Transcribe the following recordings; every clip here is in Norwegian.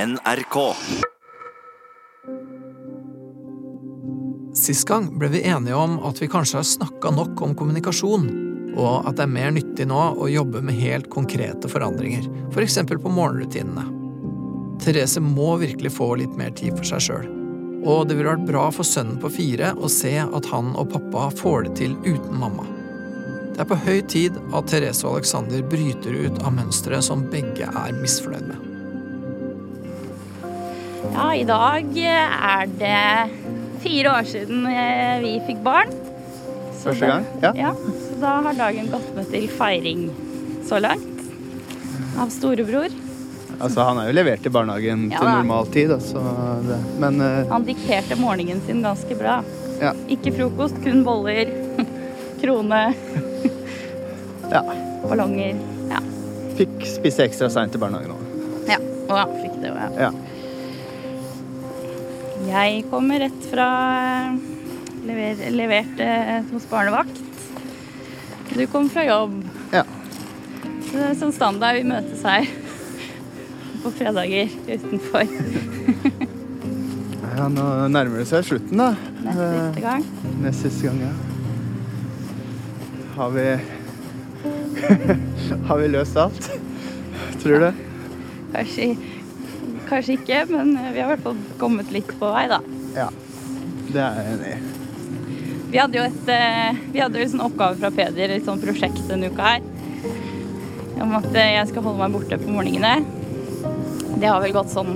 NRK. Sist gang ble vi enige om at vi kanskje har snakka nok om kommunikasjon, og at det er mer nyttig nå å jobbe med helt konkrete forandringer, f.eks. For på morgenrutinene. Therese må virkelig få litt mer tid for seg sjøl. Og det ville vært bra for sønnen på fire å se at han og pappa får det til uten mamma. Det er på høy tid at Therese og Alexander bryter ut av mønsteret som begge er misfornøyd med. Ja, i dag er det fire år siden eh, vi fikk barn. Så da- Første gang? Ja. Ja, så da har dagen gått med til feiring så langt. Av storebror. Altså, han er jo levert i barnehagen Ja til da. normal tid, da, så det. Men eh, Han dikterte morgenen sin ganske bra. ja. Ikke frokost, kun boller, krone, ja. ballonger. Ja. Fikk spise ekstra seint i barnehagen òg. ja. Og han fikk det, ja. Ja. Jeg kommer rett fra eh, lever, levert eh, hos barnevakt. Du kom fra jobb. ja. Så det er sånn standard. Vi møtes her på fredager utenfor ja. Nå nærmer det seg slutten, da. nest siste gang. Eh, Nest siste gang, ja. Har vi Har vi løst alt? Tror du? Kanskje, kanskje ikke, men vi har i hvert fall kommet litt på vei, da. Ja. Det er jeg enig i. Vi hadde jo et eh, Vi hadde jo en sånn oppgave fra Peder, et sånt prosjekt denne uka her, om at eh, jeg skal holde meg borte på morgenene. Det har vel gått sånn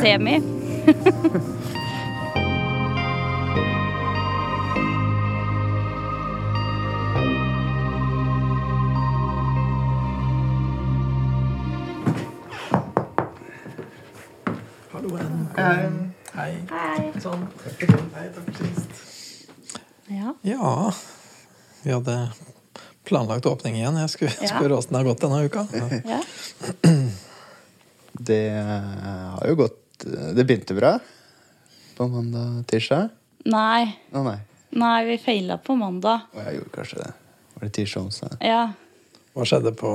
semi. Hallo, Ann. Hei. Hei. Sånn. Ja. Ja Vi hadde planlagt åpning igjen. Jeg skulle, jeg Ja. skulle høre åssen det har gått denne uka. ja. Det eh, har jo gått eh, Det begynte bra på mandag-tirsdag. Nei. Å nei. Nei, vi feila på mandag. Å, Jeg gjorde kanskje det. Var det tirsdag og onsdag? Ja. Hva skjedde på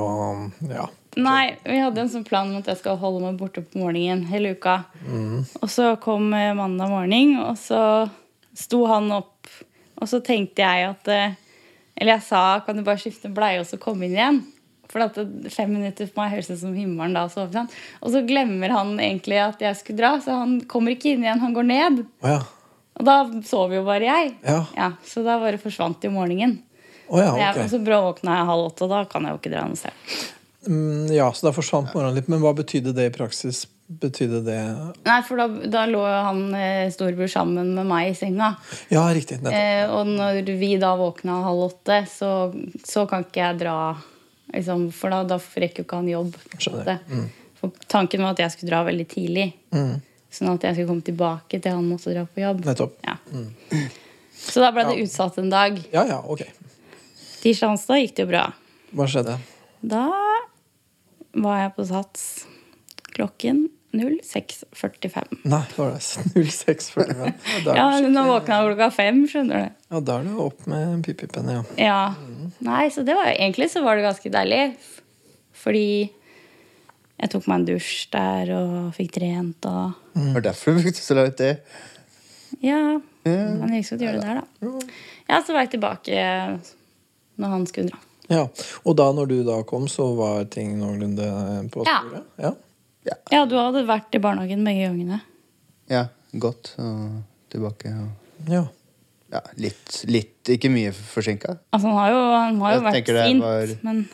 Ja. Nei, vi hadde en sånn plan om at jeg skal holde meg borte på morgenen hele uka. Mm. Og så kom eh, mandag morgen, og så sto han opp. Og så tenkte jeg at eh, Eller jeg sa kan du bare skifte bleie og så komme inn igjen? For at det- fem minutter for meg høres ut som himmelen da. Så han. Og så glemmer han egentlig at jeg skulle dra, så han kommer ikke inn igjen. Han går ned. Å ja. Og da sov jo bare jeg. Ja. Så da bare forsvant jo morgenen. Å ja, Jeg- Og ok. så bråvåkna jeg halv åtte, og da kan jeg jo ikke dra noe sted. Mm, ja, så da forsvant morgenen litt. Men hva betydde det i praksis? Betydde det Nei, for da, da lå han eh, storebror sammen med meg i senga. Ja, riktig. Nettopp. Eh, og når vi da våkna halv åtte, så, så kan ikke jeg dra. Liksom, for da, da rekker jo ikke han jobb. på en Skjønner. Mm. måte. For tanken var at jeg skulle dra veldig tidlig. Sånn at jeg skulle komme tilbake til han måtte dra på jobb. Nettopp. Mm. Ja. Så da ble det utsatt en dag. Ja ja, ok. Tirsdag onsdag gikk det jo bra. Hva skjedde? Da var jeg på Sats klokken 06.45. Nei, det var det 06.45. Ja, da- Ja, nå våkna jeg klokka fem, skjønner du. ja, da er det jo opp med pipipene, ja. Ja. Nei, så det var egentlig så var det ganske deilig. F- Fordi jeg tok meg en dusj der og fikk trent og Mm. Det var derfor du brukte så lang tid. Ja. Ja. Men jeg skulle gjøre det der, da. Ja, så var jeg tilbake når han skulle dra. Ja, Og da når du da kom, så var ting noenlunde på Ja. sporet? Ja. Ja, du hadde vært i barnehagen begge gangene. Ja, godt. Og tilbake. Og ja. ja, litt, litt, ikke mye forsinka. Altså, han har jo, han har jo Jeg vært tenker det sint, var- men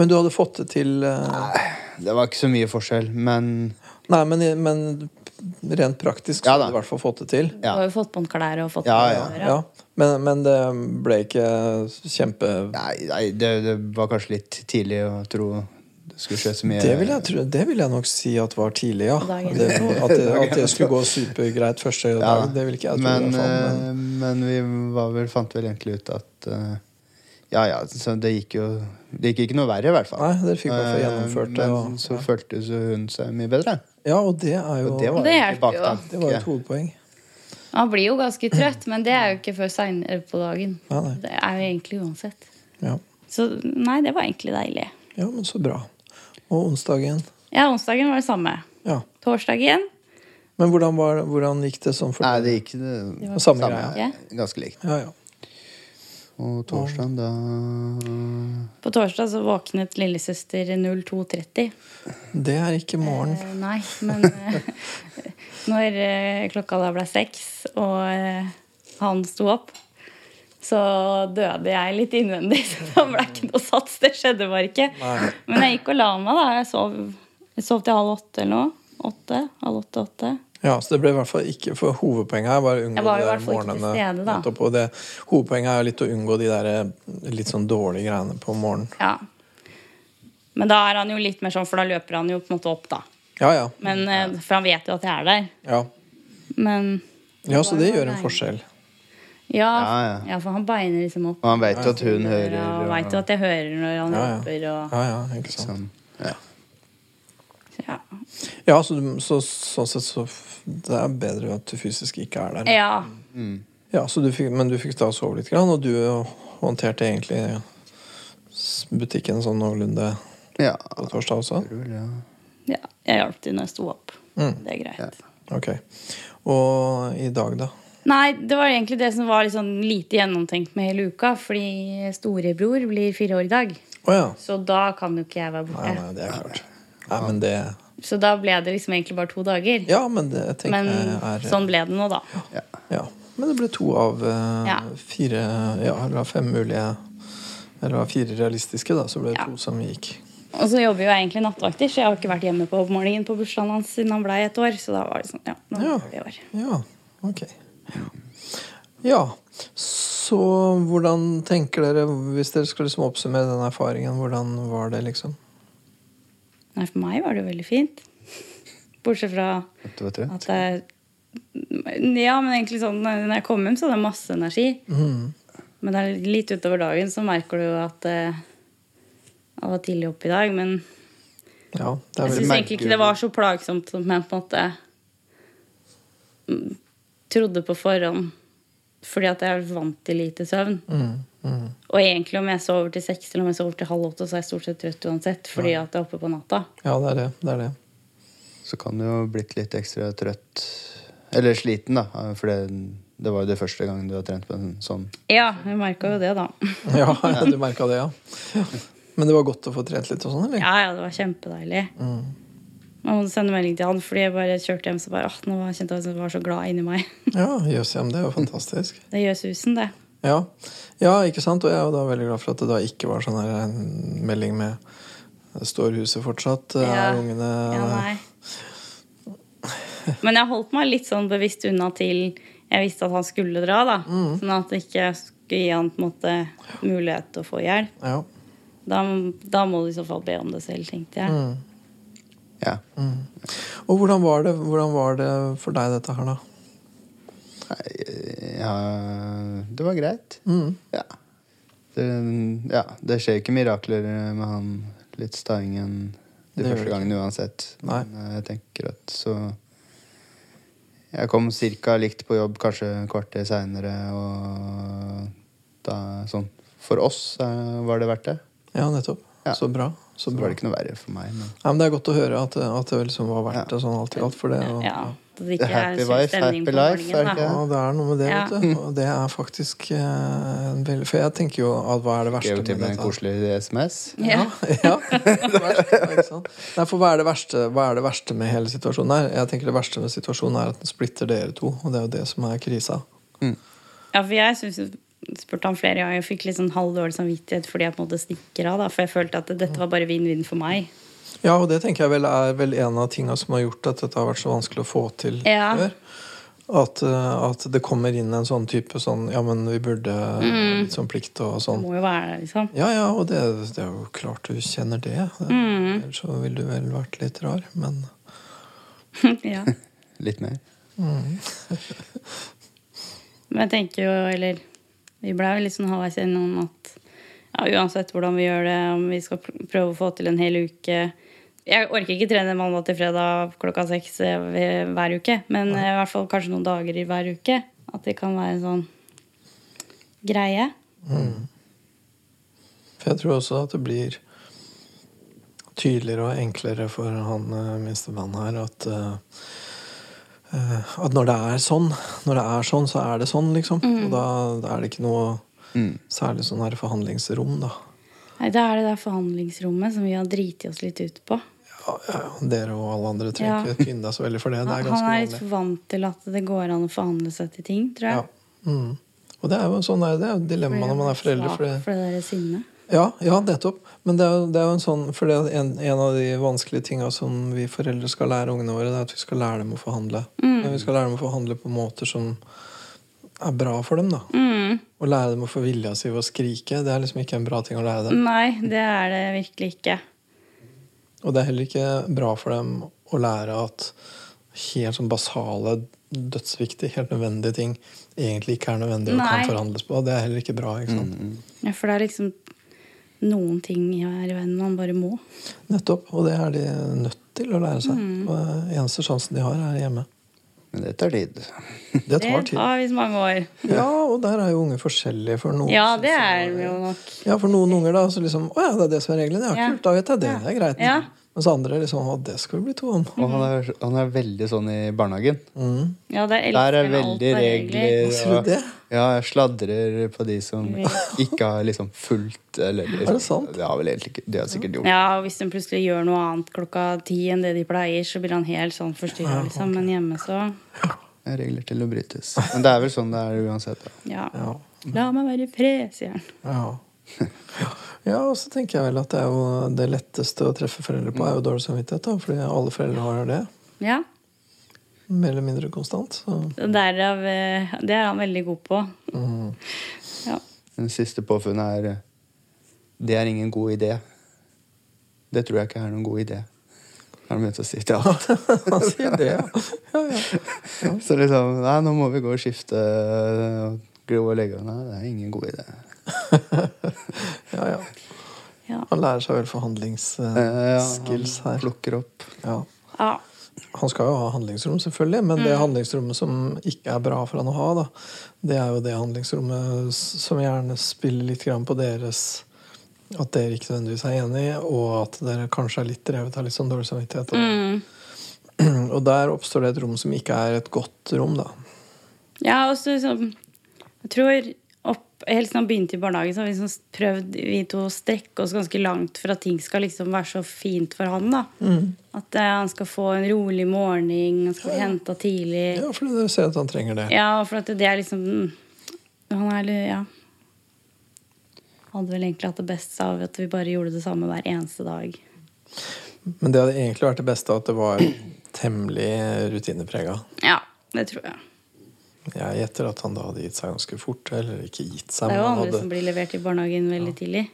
Men du hadde fått det til eh, Det var ikke så mye forskjell, men Nei, men, men rent praktisk så Ja da. hadde du i hvert fall fått det til. du Ja. har jo fått på en klær og fått Ja, på ja. håret. Ja. Men, men det ble ikke kjempe... nei, nei det, det var kanskje litt tidlig å tro det skulle skje så mye. Det vil, jeg, tro- det vil jeg nok si at var tidlig, ja. Dagen Det, at, det, at det skulle gå supergreit første Ja, dag, det vil ikke jeg tro. i men, hvert fall, men- eh, men vi var vel, fant vel egentlig ut at eh, Ja ja, så det gikk jo Det gikk ikke noe verre, i hvert fall. Nei, dere fikk i hvert fall Eh, gjennomført det, Men og- så følte jo hun seg mye bedre. Ja, og det er jo Og det det var, var Det jo hjelper jo. tilbaketanke. jo et hovedpoeng. Han blir jo ganske trøtt, men det er jo ikke før seinere på dagen. Nei, nei. Det er jo egentlig uansett. Ja. Så nei, det var egentlig deilig. ja, men så bra. Og onsdagen. Ja, onsdagen var det samme. Ja. torsdag igjen. Men hvordan, var, det- hvordan gikk det sånn for Nei, deg? det gikk det var Samme greia. Ja. Ganske likt. Ja, ja. Og torsdag, da På torsdag så våknet lillesøster 02.30. Det er ikke morgen. Eh, nei, men eh, når eh, klokka da ble seks, og eh, han sto opp, så døde jeg litt innvendig. Så det ble ikke noe sats. Det skjedde bare ikke. Nei. Men jeg gikk og la meg, da. Jeg sov, jeg sov til halv åtte eller noe. Åtte. Halv åtte-åtte. Ja, så det ble i hvert fall ikke For hovedpoenget her var å unngå Jeg var de i der hvert fall ikke til morgenene. stede, da. nettopp, og det, hovedpoenget er jo litt å unngå de der eh, litt sånn dårlige greiene på morgenen. Ja. Men da er han jo litt mer sånn, for da løper han jo på en måte opp, da. Ja, ja. Men, eh, For han vet jo at jeg er der. Ja, Men ja så det gjør en forskjell. ja, Ja, ja. ja, for han beiner liksom opp. Og han veit jo at hun hører Og og, veit jo at jeg hører når han Ja, roper. ja. Og, ja, ja ikke sant. sånn. Ja. ja. Ja, så, du- så sånn sett så f- Det er bedre at du fysisk ikke er der. ja. Ja, så du fikk, Men du fikk da sove litt, grann, og du eh, håndterte egentlig s- butikken sånn noenlunde ja. på torsdag også? det er vel, ja. ja. Jeg hjalp til når jeg sto opp. Mm. Det er greit. Ja. Ok. Og i dag, da? Nei, det var egentlig det som var litt sånn lite gjennomtenkt med hele uka. Fordi storebror blir fire år i dag, Å ja. så da kan jo ikke jeg være borte. Nei, nei, det er klart. Nei, men det Så da ble det liksom egentlig bare to dager. Ja, men det jeg tenker Men jeg er sånn ble det nå, da. Ja. Ja. Men det ble to av eh, Ja. fire Ja, eller av fem mulige Eller av fire realistiske, da, så ble det Ja. to som gikk. Og så jobber jo jeg egentlig nattevakter, så jeg har ikke vært hjemme på morgenen på bursdagen hans siden han blei et år. Så da var det sånn, ja, nå Ja. er vi i år. Ja, ok. Ja, så hvordan tenker dere, hvis dere skal liksom oppsummere den erfaringen, hvordan var det, liksom? Nei, for meg var det jo veldig fint. Bortsett fra At du var trøtt? at jeg Ja, men egentlig sånn når jeg kom hjem, så hadde jeg masse energi. Mm. Men det er litt utover dagen, så merker du jo at eh, jeg var tidlig oppe i dag. Men Ja, det er jeg veldig syns merker egentlig du- ikke det var så plagsomt som jeg på en måte mm, trodde på forhånd. Fordi at jeg er vant til lite søvn. mm, mm. Og egentlig om jeg sover til seks eller om jeg sover til halv åtte, så er jeg stort sett trøtt uansett. Fordi at jeg er oppe på natta. Ja, det er det. det, er det. så kan du jo ha blitt litt ekstra trøtt Eller sliten, da. For det, det var jo det første gangen du har trent på en sånn. Ja, jeg merka jo det, da. Ja, ja du merka det, ja. ja. Men det var godt å få trent litt og sånn, eller? Ja, ja, det var kjempedeilig. Man måtte sende melding til han, fordi jeg bare kjørte hjem så bare, åh, nå var- kjente jeg at jeg var så glad inni meg. Ja, jøss, ja, men det var fantastisk. Det gjør susen, det. Ja. ja, ikke sant? Og jeg er jo da veldig glad for at det da ikke var sånn her en melding med eh, Står huset fortsatt? Ja. Er ungene eh, Ja, nei. Men jeg holdt meg litt sånn bevisst unna til jeg visste at han skulle dra, da. Sånn at jeg ikke skulle gi han på en måte mulighet til å få hjelp. Ja. Da, da må du i så fall be om det selv, tenkte jeg. Ja. Mm, Og hvordan var, det, hvordan var det for deg, dette her, da? Nei, ja Det var greit. Mm. Ja. Det, ja. det skjer jo ikke mirakler med han litt staingen Det gjør de det første gangene uansett. Nei. Men eh, jeg tenker at så Jeg kom cirka likt på jobb kanskje kvarter seinere, og da sånn For oss eh, var det verdt det. Ja, nettopp. Ja. Så bra. Så Så bra. var det ikke noe verre for meg. Men Nei, men det er godt å høre at, at det liksom var verdt det, sånn alt i alt. For det, og, Ja. At det The ikke er happy sånn wife, stemning happy på life, morgenen, er da. det ikke Ja, det er noe med det, Ja. vet du. Og det er faktisk eh, en veldig For jeg tenker jo at hva er det verste skrev til med meg en dette? koselig SMS. Ja. Ja. Ja, ikke sant? Nei, for hva er, det verste, hva er det verste med hele situasjonen her? Jeg tenker Det verste med situasjonen er at den splitter dere to, og det er jo det som er krisa. Ja, for jeg synes, spurte han flere ganger. Jeg fikk litt sånn halvdårlig samvittighet fordi jeg på en måte stikker av. Da, for jeg følte at dette var bare vinn-vinn for meg. Ja, og det tenker jeg vel er vel en av tinga som har gjort at dette har vært så vanskelig å få til Ja. før. At, eh, at det kommer inn en sånn type sånn Ja, men vi burde litt sånn plikt og Det sånn. må jo være det, liksom. Ja, ja, og det, det er jo klart du kjenner det. Ellers så ville du vel vært litt rar, men ja. Litt mer. Men jeg tenker jo, eller Vi blei jo litt sånn halvveis gjennom at ja, uansett hvordan vi gjør det, om vi skal pr- prøve å få til en hel uke Jeg orker ikke trene mandag til fredag klokka seks eh, ved- hver uke, men eh, i hvert fall kanskje noen dager i hver uke. At det kan være en sånn greie. For jeg tror også at det blir tydeligere og enklere for han eh, minstemann her at eh, eh, At når det er sånn, når det er sånn, så er det sånn, liksom. Mm. Og da, da er det ikke noe Mm. særlig sånn her forhandlingsrom, da. Nei, Da er det det forhandlingsrommet som vi har driti oss litt ut på. Ja, ja, dere og alle andre Ja. trenger ikke finne deg så veldig for det. Det er Han ganske er litt vanlig. vant til at det går an å forhandle seg til ting, tror Ja. jeg. Mm. Og det er jo en sånn, det er jo dilemma når man er foreldre. For det, Svak for det der sinnet. Ja, ja nettopp. Men det er, jo- det er jo en sånn For det er en, en av de vanskelige tinga som vi foreldre skal lære ungene våre, det er at vi skal lære dem å forhandle. Men vi skal lære dem å forhandle på måter som er bra for dem, da. Mm. Å lære dem å få vilja si ved å skrike, det er liksom ikke en bra ting å lære dem. Nei, det er det virkelig ikke. Og det er heller ikke bra for dem å lære at helt sånn basale, dødsviktige, helt nødvendige ting egentlig ikke er nødvendig og Nei. kan forhandles på. Det er heller ikke bra. ikke sant? Ja, For det er liksom noen ting her i verden man bare må. Nettopp. Og det er de nødt til å lære seg. Og eneste sjansen de har, er hjemme. Men det tar tid. Det Det tar tid. tar visst mange år. Ja, og der er jo unger forskjellige for noen. Ja, synes det jeg- er det jo nok. Ja, for noen unger da, så liksom Å ja, det er det som er reglene. Ja, Ja. kult. Da vet jeg det. Ja. Det er greit. Ja. Mm. Mens andre liksom Å, det skal vi bli to om. Og han er, han er veldig sånn i barnehagen. Mm. Ja, det er Der er elsker med alt veldig av regler. Sier du Og, det? ja, jeg sladrer på de som ikke har liksom fulgt eller liksom, Er det sant? Det har vel egentlig ikke De har sikkert gjort Ja, og hvis hun plutselig gjør noe annet klokka ti enn det de pleier, så blir han helt sånn forstyrra, liksom. Men hjemme, så det. Regler til å brytes. Men det er vel sånn det er uansett. Da. ja. Ja. La meg være i fred, sier han. Ja. ja, og så tenker jeg vel at det er jo det letteste å treffe foreldre på, er jo dårlig samvittighet. da, Fordi alle foreldre har det. Ja. Mer eller mindre konstant. Så. og Derav eh, Det er han veldig god på. Mm. Ja. Den siste påfunnet er eh, Det er ingen god idé. Det tror jeg ikke er noen god idé. Har han begynt å si til alt. Han sier det, ja. ja, ja. Så liksom Nei, nå må vi gå og skifte eh, og gro og legge Nei, det er ingen god idé. ja, ja. Ja. Han lærer seg vel forhandlingsskills Eh, han her. Eh, plukker opp. Ja. ja. Han skal jo ha handlingsrom, selvfølgelig, men Mm. det handlingsrommet som ikke er bra for han å ha, da, det er jo det handlingsrommet s- som gjerne spiller litt grann på deres At dere ikke nødvendigvis er enige, og at dere kanskje er litt drevet av litt sånn dårlig samvittighet. Mm. Og der oppstår det et rom som ikke er et godt rom, da. Ja, og så liksom Jeg tror opp, Helt siden han begynte i barnehagen, så har vi liksom prøvd vi to å strekke oss ganske langt for at ting skal liksom være så fint for han. da. Mm. At eh, han skal få en rolig morgen, han skal bli henta tidlig. Ja, fordi dere ser at han trenger det. Ja, for at det er liksom Han er litt Ja. Hadde vel egentlig hatt det best av at vi bare gjorde det samme hver eneste dag. Men det hadde egentlig vært det beste at det var temmelig rutineprega. Ja, det tror jeg. Jeg gjetter at han da hadde gitt seg ganske fort. Eller ikke gitt Det seg, men er jo liksom han andre hadde som blir levert i barnehagen veldig tidlig.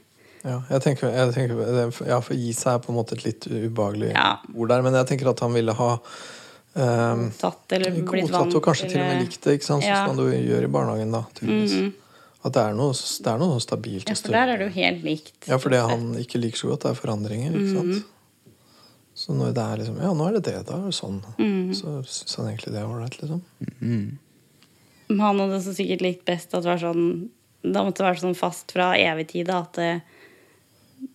Ja, jeg tenker, jeg tenker det- Ja, for gi seg er på en måte et litt ubehagelig Ja. ord der. Men jeg tenker at han ville ha ehm, Tatt eller blitt vant godtatt og kanskje til og med eller- likt det, ikke sant? Ja. Mhm. Sånn som du gjør i barnehagen, da. tydeligvis. At det er noe, det er noe sånn stabilt Ja, og for der er større. det jo helt likt. Ja, for det han ikke liker så godt, er forandringer, ikke Mhm. sant. Så når det er liksom Ja, nå er det det, da er det sånn. Mhm. Så syns han egentlig det er ålreit, liksom. Han hadde så sikkert likt best at det var sånn Da måtte det være sånn fast fra evig tid da, at eh,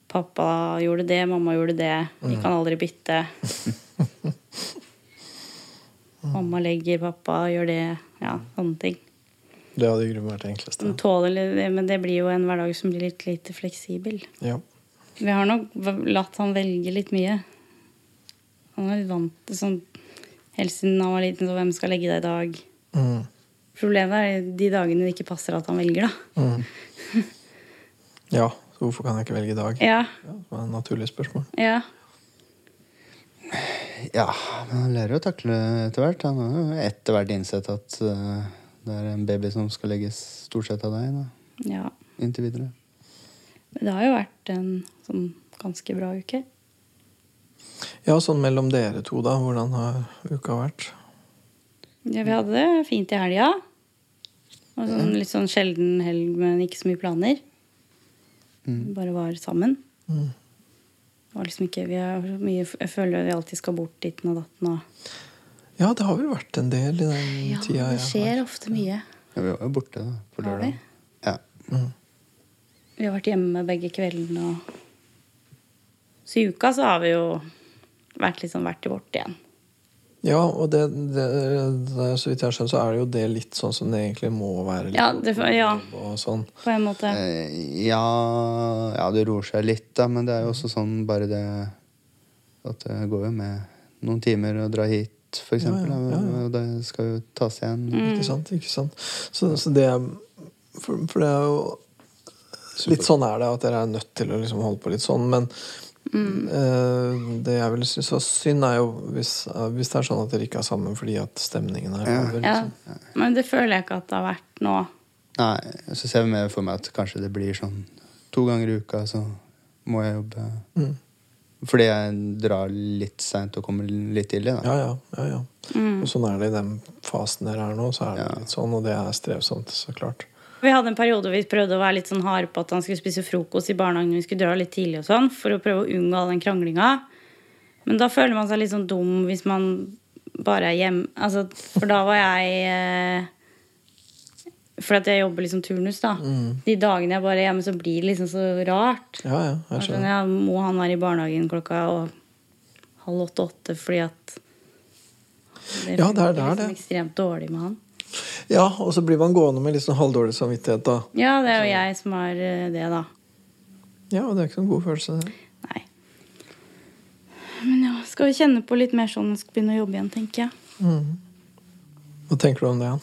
pappa gjorde det, mamma gjorde det, vi kan aldri bytte. Mamma legger, pappa gjør det. Ja, sånne ting. Det hadde i grunnen vært det De enkleste. tåler litt, men det blir jo en hverdag som blir litt lite fleksibel. Ja. Vi har nok v- latt han velge litt mye. Han er litt vant til sånn Helt siden han var liten, så hvem skal legge deg i dag? Mm. Problemet er de dagene det ikke passer at han velger, da. Mm. ja. Så hvorfor kan jeg ikke velge i dag? Ja, Ja, det var et naturlig spørsmål. ja. Ja, men han lærer jo å takle etter hvert. Han har jo etter hvert innsett at eh, det er en baby som skal legges stort sett av deg. Da. ja. Inntil videre. Men det har jo vært en sånn ganske bra uke. Ja, sånn mellom dere to, da. Hvordan har uka vært? Ja, vi hadde det fint i helga. Og sånn, litt sånn sjelden helg, men ikke så mye planer. Vi Bare var sammen. Mm. Det var liksom ikke, vi er så mye, jeg føler vi alltid skal bort dit og datten og Ja, det har vel vært en del i den Ja, tida. det jeg skjer har- ofte mye. Ja, vi var jo borte da, på Var lørdag. vi? Ja. Vi har vært hjemme begge kveldene og Så i uka så har vi jo vært litt sånn hvert i vårt igjen. Ja, og det, det, det, så vidt jeg har skjønt, så er det jo det litt sånn som det egentlig må være. litt Ja, det, ja jobb og sånn. på en måte. Eh, Ja, ja, det roer seg litt, da, men det er jo også sånn bare det At det går jo med noen timer å dra hit, for eksempel. ja, ja, ja. da, Og det skal jo tas igjen. Mm. Ikke sant? ikke sant? Så, så det er for, for det er jo Litt sånn er det at dere er nødt til å liksom holde på litt sånn, men Mm. eh, det jeg ville synes var synd, er jo hvis, eh, hvis det er sånn at dere ikke er sammen fordi at stemningen er over. Ja. Liksom. Men det føler jeg ikke at det har vært nå. Nei, så ser jeg mer for meg at kanskje det blir sånn to ganger i uka, så må jeg jobbe. Mm. Fordi jeg drar litt seint og kommer litt tidlig, da. Ja, ja, ja, ja. Og sånn er det i den fasen dere er nå, så er det Ja. litt sånn, og det er strevsomt, så klart. Vi hadde en periode hvor vi prøvde å være litt sånn hard på at han skulle spise frokost i barnehagen. Vi skulle dra litt tidlig og sånn, for å prøve å unngå all den kranglinga. Men da føler man seg litt sånn dum hvis man bare er hjemme. Altså, for da var jeg eh, For at jeg jobber liksom turnus, da. De dagene jeg bare er hjemme, så blir det liksom så rart. Mm. Ja, ja, jeg Sånn, skjønner. ja, må han være i barnehagen klokka og halv åtte-åtte fordi at det Ja, det er funker der, det. liksom ekstremt dårlig med han. Ja, og så blir man gående med litt sånn halvdårlig samvittighet, da. Ja, det er jo jeg som har eh, det, da. Ja, og det er ikke noen god følelse, det. Nei. Men ja, skal vi kjenne på litt mer sånn når vi skal begynne å jobbe igjen, tenker jeg. Mm. Hva tenker du om det? Jan?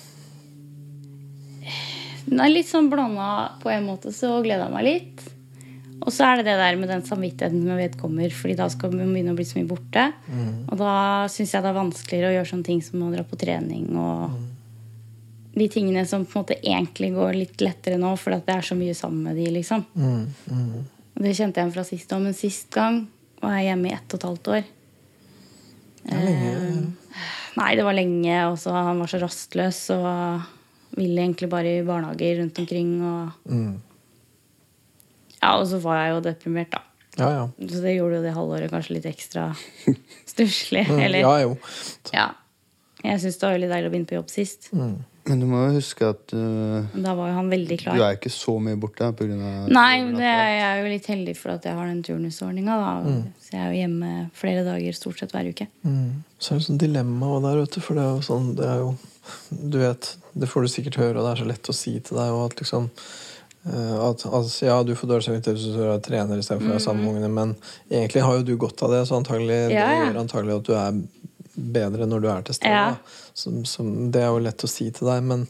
Nei, litt sånn blanda på en måte, så gleder jeg meg litt. Og så er det det der med den samvittigheten som jeg vet kommer, fordi da skal man begynne å bli så mye borte. Og da syns jeg det er vanskeligere å gjøre sånne ting som å dra på trening og De tingene som på en måte egentlig går litt lettere nå, fordi at det er så mye sammen med de, liksom. Mm, Og det kjente jeg igjen fra sist òg, men sist gang var jeg hjemme i ett og et halvt år. Eh, Det er lenge, ja. Nei, det var lenge, og så han var så rastløs og ville egentlig bare i barnehager rundt omkring. Og, mm. ja, og så var jeg jo deprimert, da. ja, ja. Så det gjorde jo det halvåret kanskje litt ekstra stusslig. Mm, Eller Ja, jo. ja. Jeg syns det var veldig deilig å begynne på jobb sist. Mm. Men du må jo huske at uh, Men da var jo han veldig du klar. er ikke så mye borte pga. Nei, men det er, jeg er jo litt heldig for at jeg har den turnusordninga, da. Så jeg er jo hjemme flere dager stort sett hver uke. Mm. Så er det sånn dilemma også der, vet du. For det er jo sånn det er jo, Du vet, det får du sikkert høre, og det er så lett å si til deg, og at liksom eh, at, altså, Ja, du får dårlig samvittighet hvis du er trener istedenfor å Mm. være sammen med ungene, men egentlig har jo du godt av det, så antagelig, Ja, det ja. gjør antagelig at du er bedre når du er til stede. Ja. da. Som, som, det er jo lett å si til deg, men,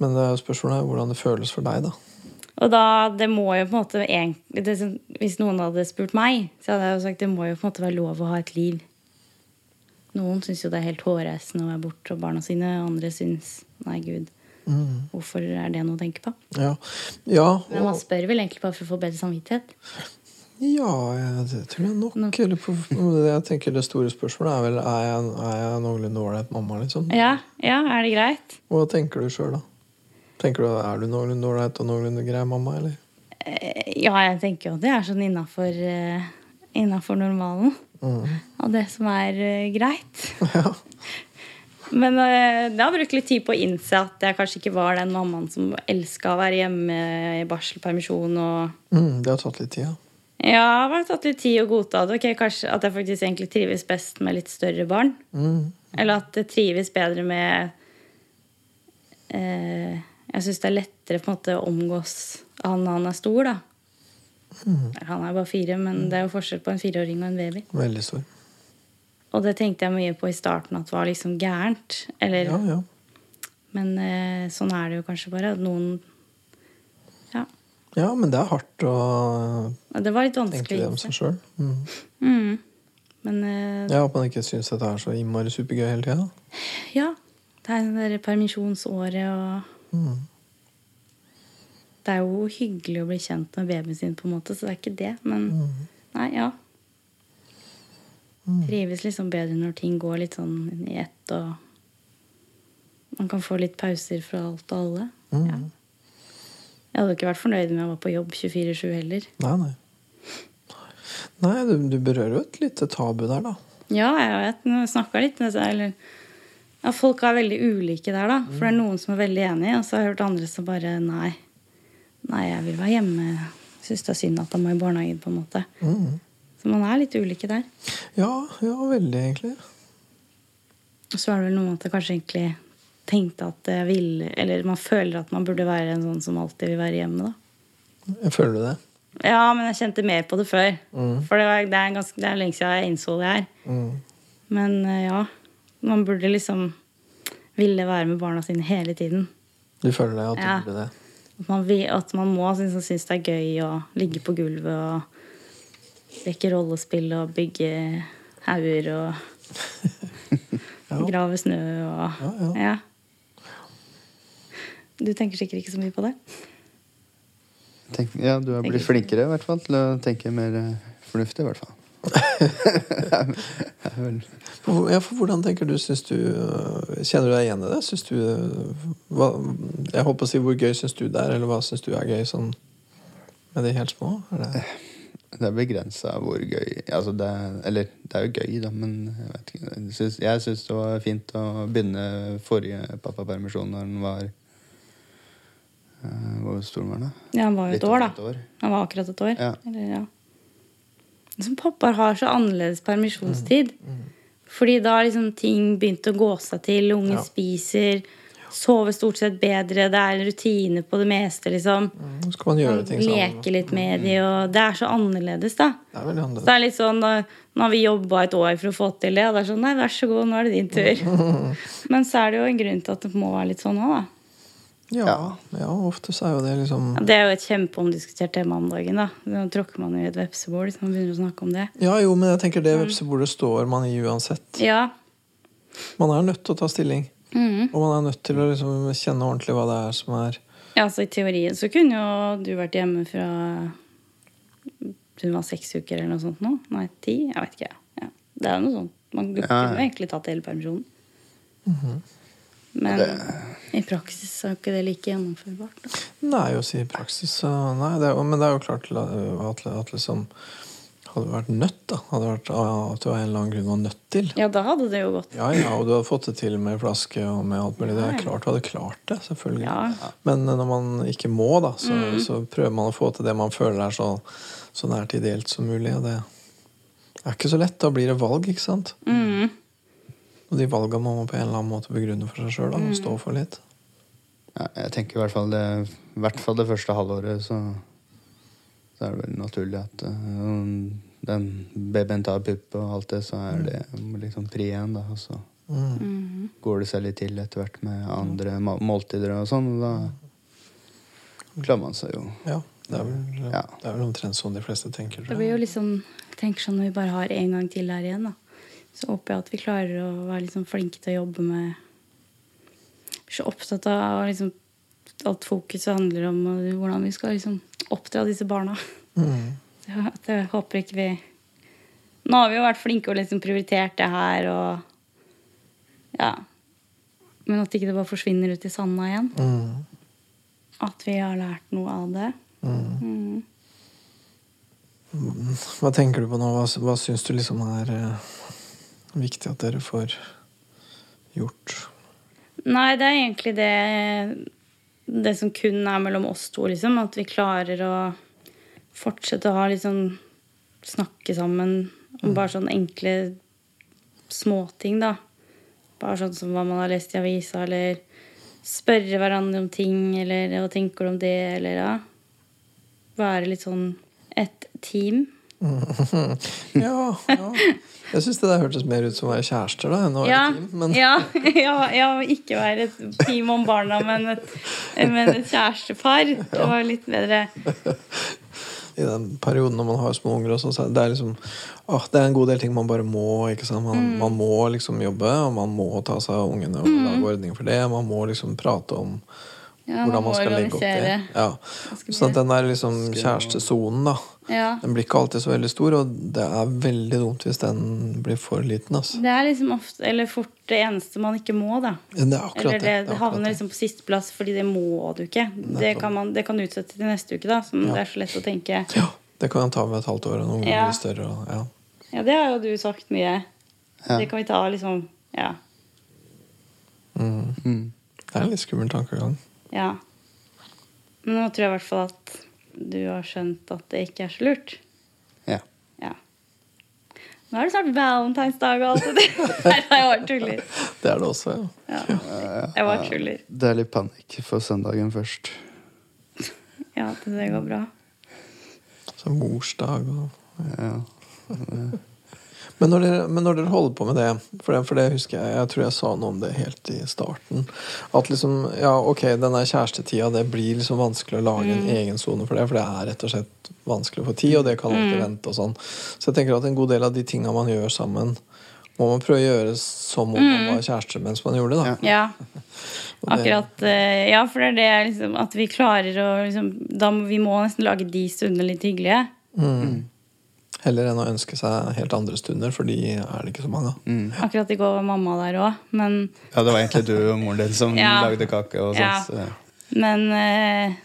men det er jo spørsmålet er hvordan det føles for deg, da. Og da, det må jo på en måte egentlig, det, som- Hvis noen hadde spurt meg, så hadde jeg jo sagt det må jo på en måte være lov å ha et liv. Noen syns jo det er helt hårreisende å være borte fra barna sine. Andre syns nei, gud, hvorfor er det noe å tenke på? Ja, ja, Mm. Men man og, spør vel egentlig bare for å få bedre samvittighet. ja jeg, det tror jeg nok. Eller på, jeg tenker det store spørsmålet er vel er jeg, er jeg noenlunde ålreit mamma, liksom. Ja, ja, er det greit? Hva tenker du sjøl, da? Tenker du, Er du noenlunde ålreit og noenlunde grei mamma, eller? Eh, Ja, jeg tenker jo det er sånn innafor Innafor normalen. Og det som er eh, greit. Mm. Ja. Men eh, det har brukt litt tid på å innse at jeg kanskje ikke var den mammaen som elska å være hjemme i barselpermisjon. og Mm, det har tatt litt tid, ja. ja, det har tatt litt tid å godta det. Ok, kanskje At jeg faktisk egentlig trives best med litt større barn. Mm, Eller at jeg trives bedre med eh, Jeg syns det er lettere på en måte å omgås han når han er stor, da. Eller Han er bare fire, men det er jo forskjell på en fireåring og en baby. Veldig stor. Og det tenkte jeg mye på i starten at var liksom gærent. Eller Ja, ja. Men eh, sånn er det jo kanskje bare. at Noen Ja. ja, men det er hardt å Det var litt tenke vanskelig. det om seg sjøl. Mm. Mm. Men eh, Ja, at man ikke syns dette er så innmari supergøy hele tida. ja. Det er det der permisjonsåret og Mm, Det er jo hyggelig å bli kjent med babyen sin, på en måte, så det er ikke det. Men nei, ja. Trives liksom bedre når ting går litt sånn i ett, og man kan få litt pauser fra alt og alle. mm. Ja. Jeg hadde jo ikke vært fornøyd med å være på jobb 24-7 heller. Nei, nei. Nei, du, du berører jo et lite tabu der, da. Ja, jeg vet. Nå snakka litt med seg, eller ja, Folk er veldig ulike der, da. For det er noen som er veldig enige, og så har jeg hørt andre som bare Nei, Mm. nei jeg vil være hjemme. Syns det er synd at han må i barnehagen, på en måte. Så man er litt ulike der. Ja, ja, veldig, egentlig. Og så er det vel noe med at jeg kanskje egentlig tenkte at jeg ville Eller man føler at man burde være en sånn som alltid vil være hjemme, da. Jeg føler det. Ja, men jeg kjente mer på det før. For det, var, det, er ganske, det er lenge siden jeg innså det her. Mm. Men eh, ja, man burde liksom ville være med barna sine hele tiden. Du føler det, at du Ja. burde det. At man, vil, at man må synes, synes det er gøy å ligge på gulvet og leke rollespill og bygge hauger og Ja. grave snø og Ja, ja. Du tenker sikkert ikke så mye på det? Tenk, ja, du har blitt flinkere i hvert fall til å tenke mer eh, fornuftig, i hvert fall. Det er vel- Hvor- Ja, for hvordan tenker du, synes du øh, Kjenner du deg igjen i det? Synes du øh, hva, Jeg holdt på å si hvor gøy syns du det er, eller hva syns du er gøy sånn med de helt små? Er det, det er begrensa hvor gøy altså det, er- Eller det er jo gøy, da, men jeg vet ikke. Jeg syns- Jeg syns det var fint å begynne forrige pappapermisjon når den var eh, Hvor stor var den, da? Ja, han var jo Litt et år, over da. et år. Han var akkurat et år. Ja. Eller, ja. Som pappaer har så annerledes permisjonstid. Mm, Fordi da har liksom ting begynt å gå seg til. Ungen Ja. spiser, sover stort sett bedre, det er en rutine på det meste, liksom. Mm. nå skal man gjøre ting sammen. Leke litt med de, og det er så annerledes, da. Det er veldig Så det annerledes. er litt sånn, da- Nå har vi jobba et år for å få til det, og det er sånn Nei, vær så god, nå er det din tur. Men så er det jo en grunn til at det må være litt sånn òg, da. Ja, ja, ofte så er jo det liksom Ja, Det er jo et kjempeomdiskutert tema om dagen. da. Nå tråkker man jo i et vepsebol hvis man begynner å snakke om det. Ja, jo, men jeg tenker Mm. det vepsebordet står man i uansett. Ja, Mm. Man er nødt til å ta stilling. Og man er nødt til å liksom kjenne ordentlig hva det er som er ja altså I teorien så kunne jo du vært hjemme fra hun var seks uker eller noe sånt nå. Nei, ti? Jeg vet ikke. Ja. Det er jo noe sånt. Man du Ja, ja. kunne jo egentlig tatt hele permisjonen. Men i praksis så er jo ikke det like gjennomførbart. altså. Da. Nei, å si i praksis så Nei, det er, jo- men det er jo klart til at, at, at liksom Hadde du vært nødt, da. Hadde det vært ah, at du av en eller annen grunn var nødt til. Ja, da hadde det jo gått. Ja, ja, og du hadde fått det til med flaske og med alt mulig. Det er Ja, ja. klart du hadde klart det, selvfølgelig. Ja. Mm. Men eh, når man ikke må, da, så, så prøver man å få til det man føler er så, så nært ideelt som mulig. Og det er ikke så lett. Da blir det valg, ikke sant? Mhm. Og de valga må man på en eller annen måte begrunne for seg sjøl Mm. og stå for litt. Ja, jeg tenker i hvert fall det, i hvert fall det første halvåret, så, så er det vel naturlig at eh, om den babyen tar pupp og alt det, så er det liksom pri én, da. Og så Mm. Mhm. går det seg litt til etter hvert med andre ma- måltider og sånn, og da klarer man seg jo. Ja, det er, vel, Ja. det er vel omtrent sånn de fleste tenker. Det tror jeg. blir jo liksom, jeg tenker sånn Når vi bare har én gang til her igjen, da, så håper jeg at vi klarer å være liksom flinke til å jobbe med så opptatt av liksom, alt fokuset handler om og hvordan vi skal liksom, oppdra disse barna. Mm. Så At jeg håper ikke vi Nå har vi jo vært flinke og liksom prioritert det her og Ja. Men at ikke det bare forsvinner ut i sanda igjen. Mm. At vi har lært noe av det. Mm. Hva tenker du på nå? Hva, hva syns du liksom er eh, viktig at dere får gjort? Nei, det er egentlig det Det som kun er mellom oss to, liksom. At vi klarer å fortsette å ha litt sånn Snakke sammen om bare sånne enkle småting, da. Bare sånn som hva man har lest i avisa, eller spørre hverandre om ting, eller hva tenker du om det, eller ja. Være litt sånn et team. Ja, ja. Jeg syns det der hørtes mer ut som å være kjærester da, enn å være Ja, team. Men ja, ja, ja, ikke være et team om barna, men et, men et kjærestepar. Det var litt bedre. i den perioden når man har små unger, og sånn, så er det er liksom, åh, det er en god del ting man bare må. ikke sant? Man, Mm. man må liksom jobbe, og man må ta seg av ungene og Mm. lage ordninger for det. Man må liksom prate om Ja, man hvordan man må skal legge opp det. organisere. Ja. skal Sånn at den der liksom kjærestesonen, da, Ja. den blir ikke alltid så veldig stor, og det er veldig dumt hvis den blir for liten. altså. Det er liksom ofte, eller fort det eneste man ikke må, da. Ja, Det er akkurat Eller det, er det akkurat havner liksom på sisteplass, fordi det må du ikke. Det kan, man, det kan du utsette til neste uke, da, som det er så lett å tenke. Ja, det kan ta med et halvt år, og noen Ja. blir større. Og, ja. Ja, det har jo du sagt mye. Ja. Det kan vi ta liksom Ja. Det er en litt skummel tankegang. ja. Men nå tror jeg i hvert fall at du har skjønt at det ikke er så lurt. Ja. Ja. Nå er det snart valentinsdag og alt det der. Nei, jeg var tuller. Det er det også, ja. Ja. Jeg var tuller. Det er litt panikk for søndagen først. Ja, det går bra. Så morsdag og Ja. Men når, dere, men når dere holder på med det for, det for det husker jeg Jeg tror jeg sa noe om det helt i starten. At liksom, ja, ok, denne kjærestetida, det blir liksom vanskelig å lage Mm. en egen sone for det. For det er rett og slett vanskelig å få tid, og det kan Mm. alltid vente og sånn. Så jeg tenker at en god del av de tinga man gjør sammen, må man prøve å gjøre som om man var kjærester mens man gjorde det. da. Mm. Ja. Akkurat. eh, Ja, for det er det jeg liksom At vi klarer å liksom da, må- Vi må nesten lage de stundene litt hyggelige. Mm. Heller enn å ønske seg helt andre stunder, for de er det ikke så mange av. Akkurat i går var mamma der òg, men Ja, det var egentlig du og moren din som Ja. lagde kake og Ja. sånt. så- Men, eh,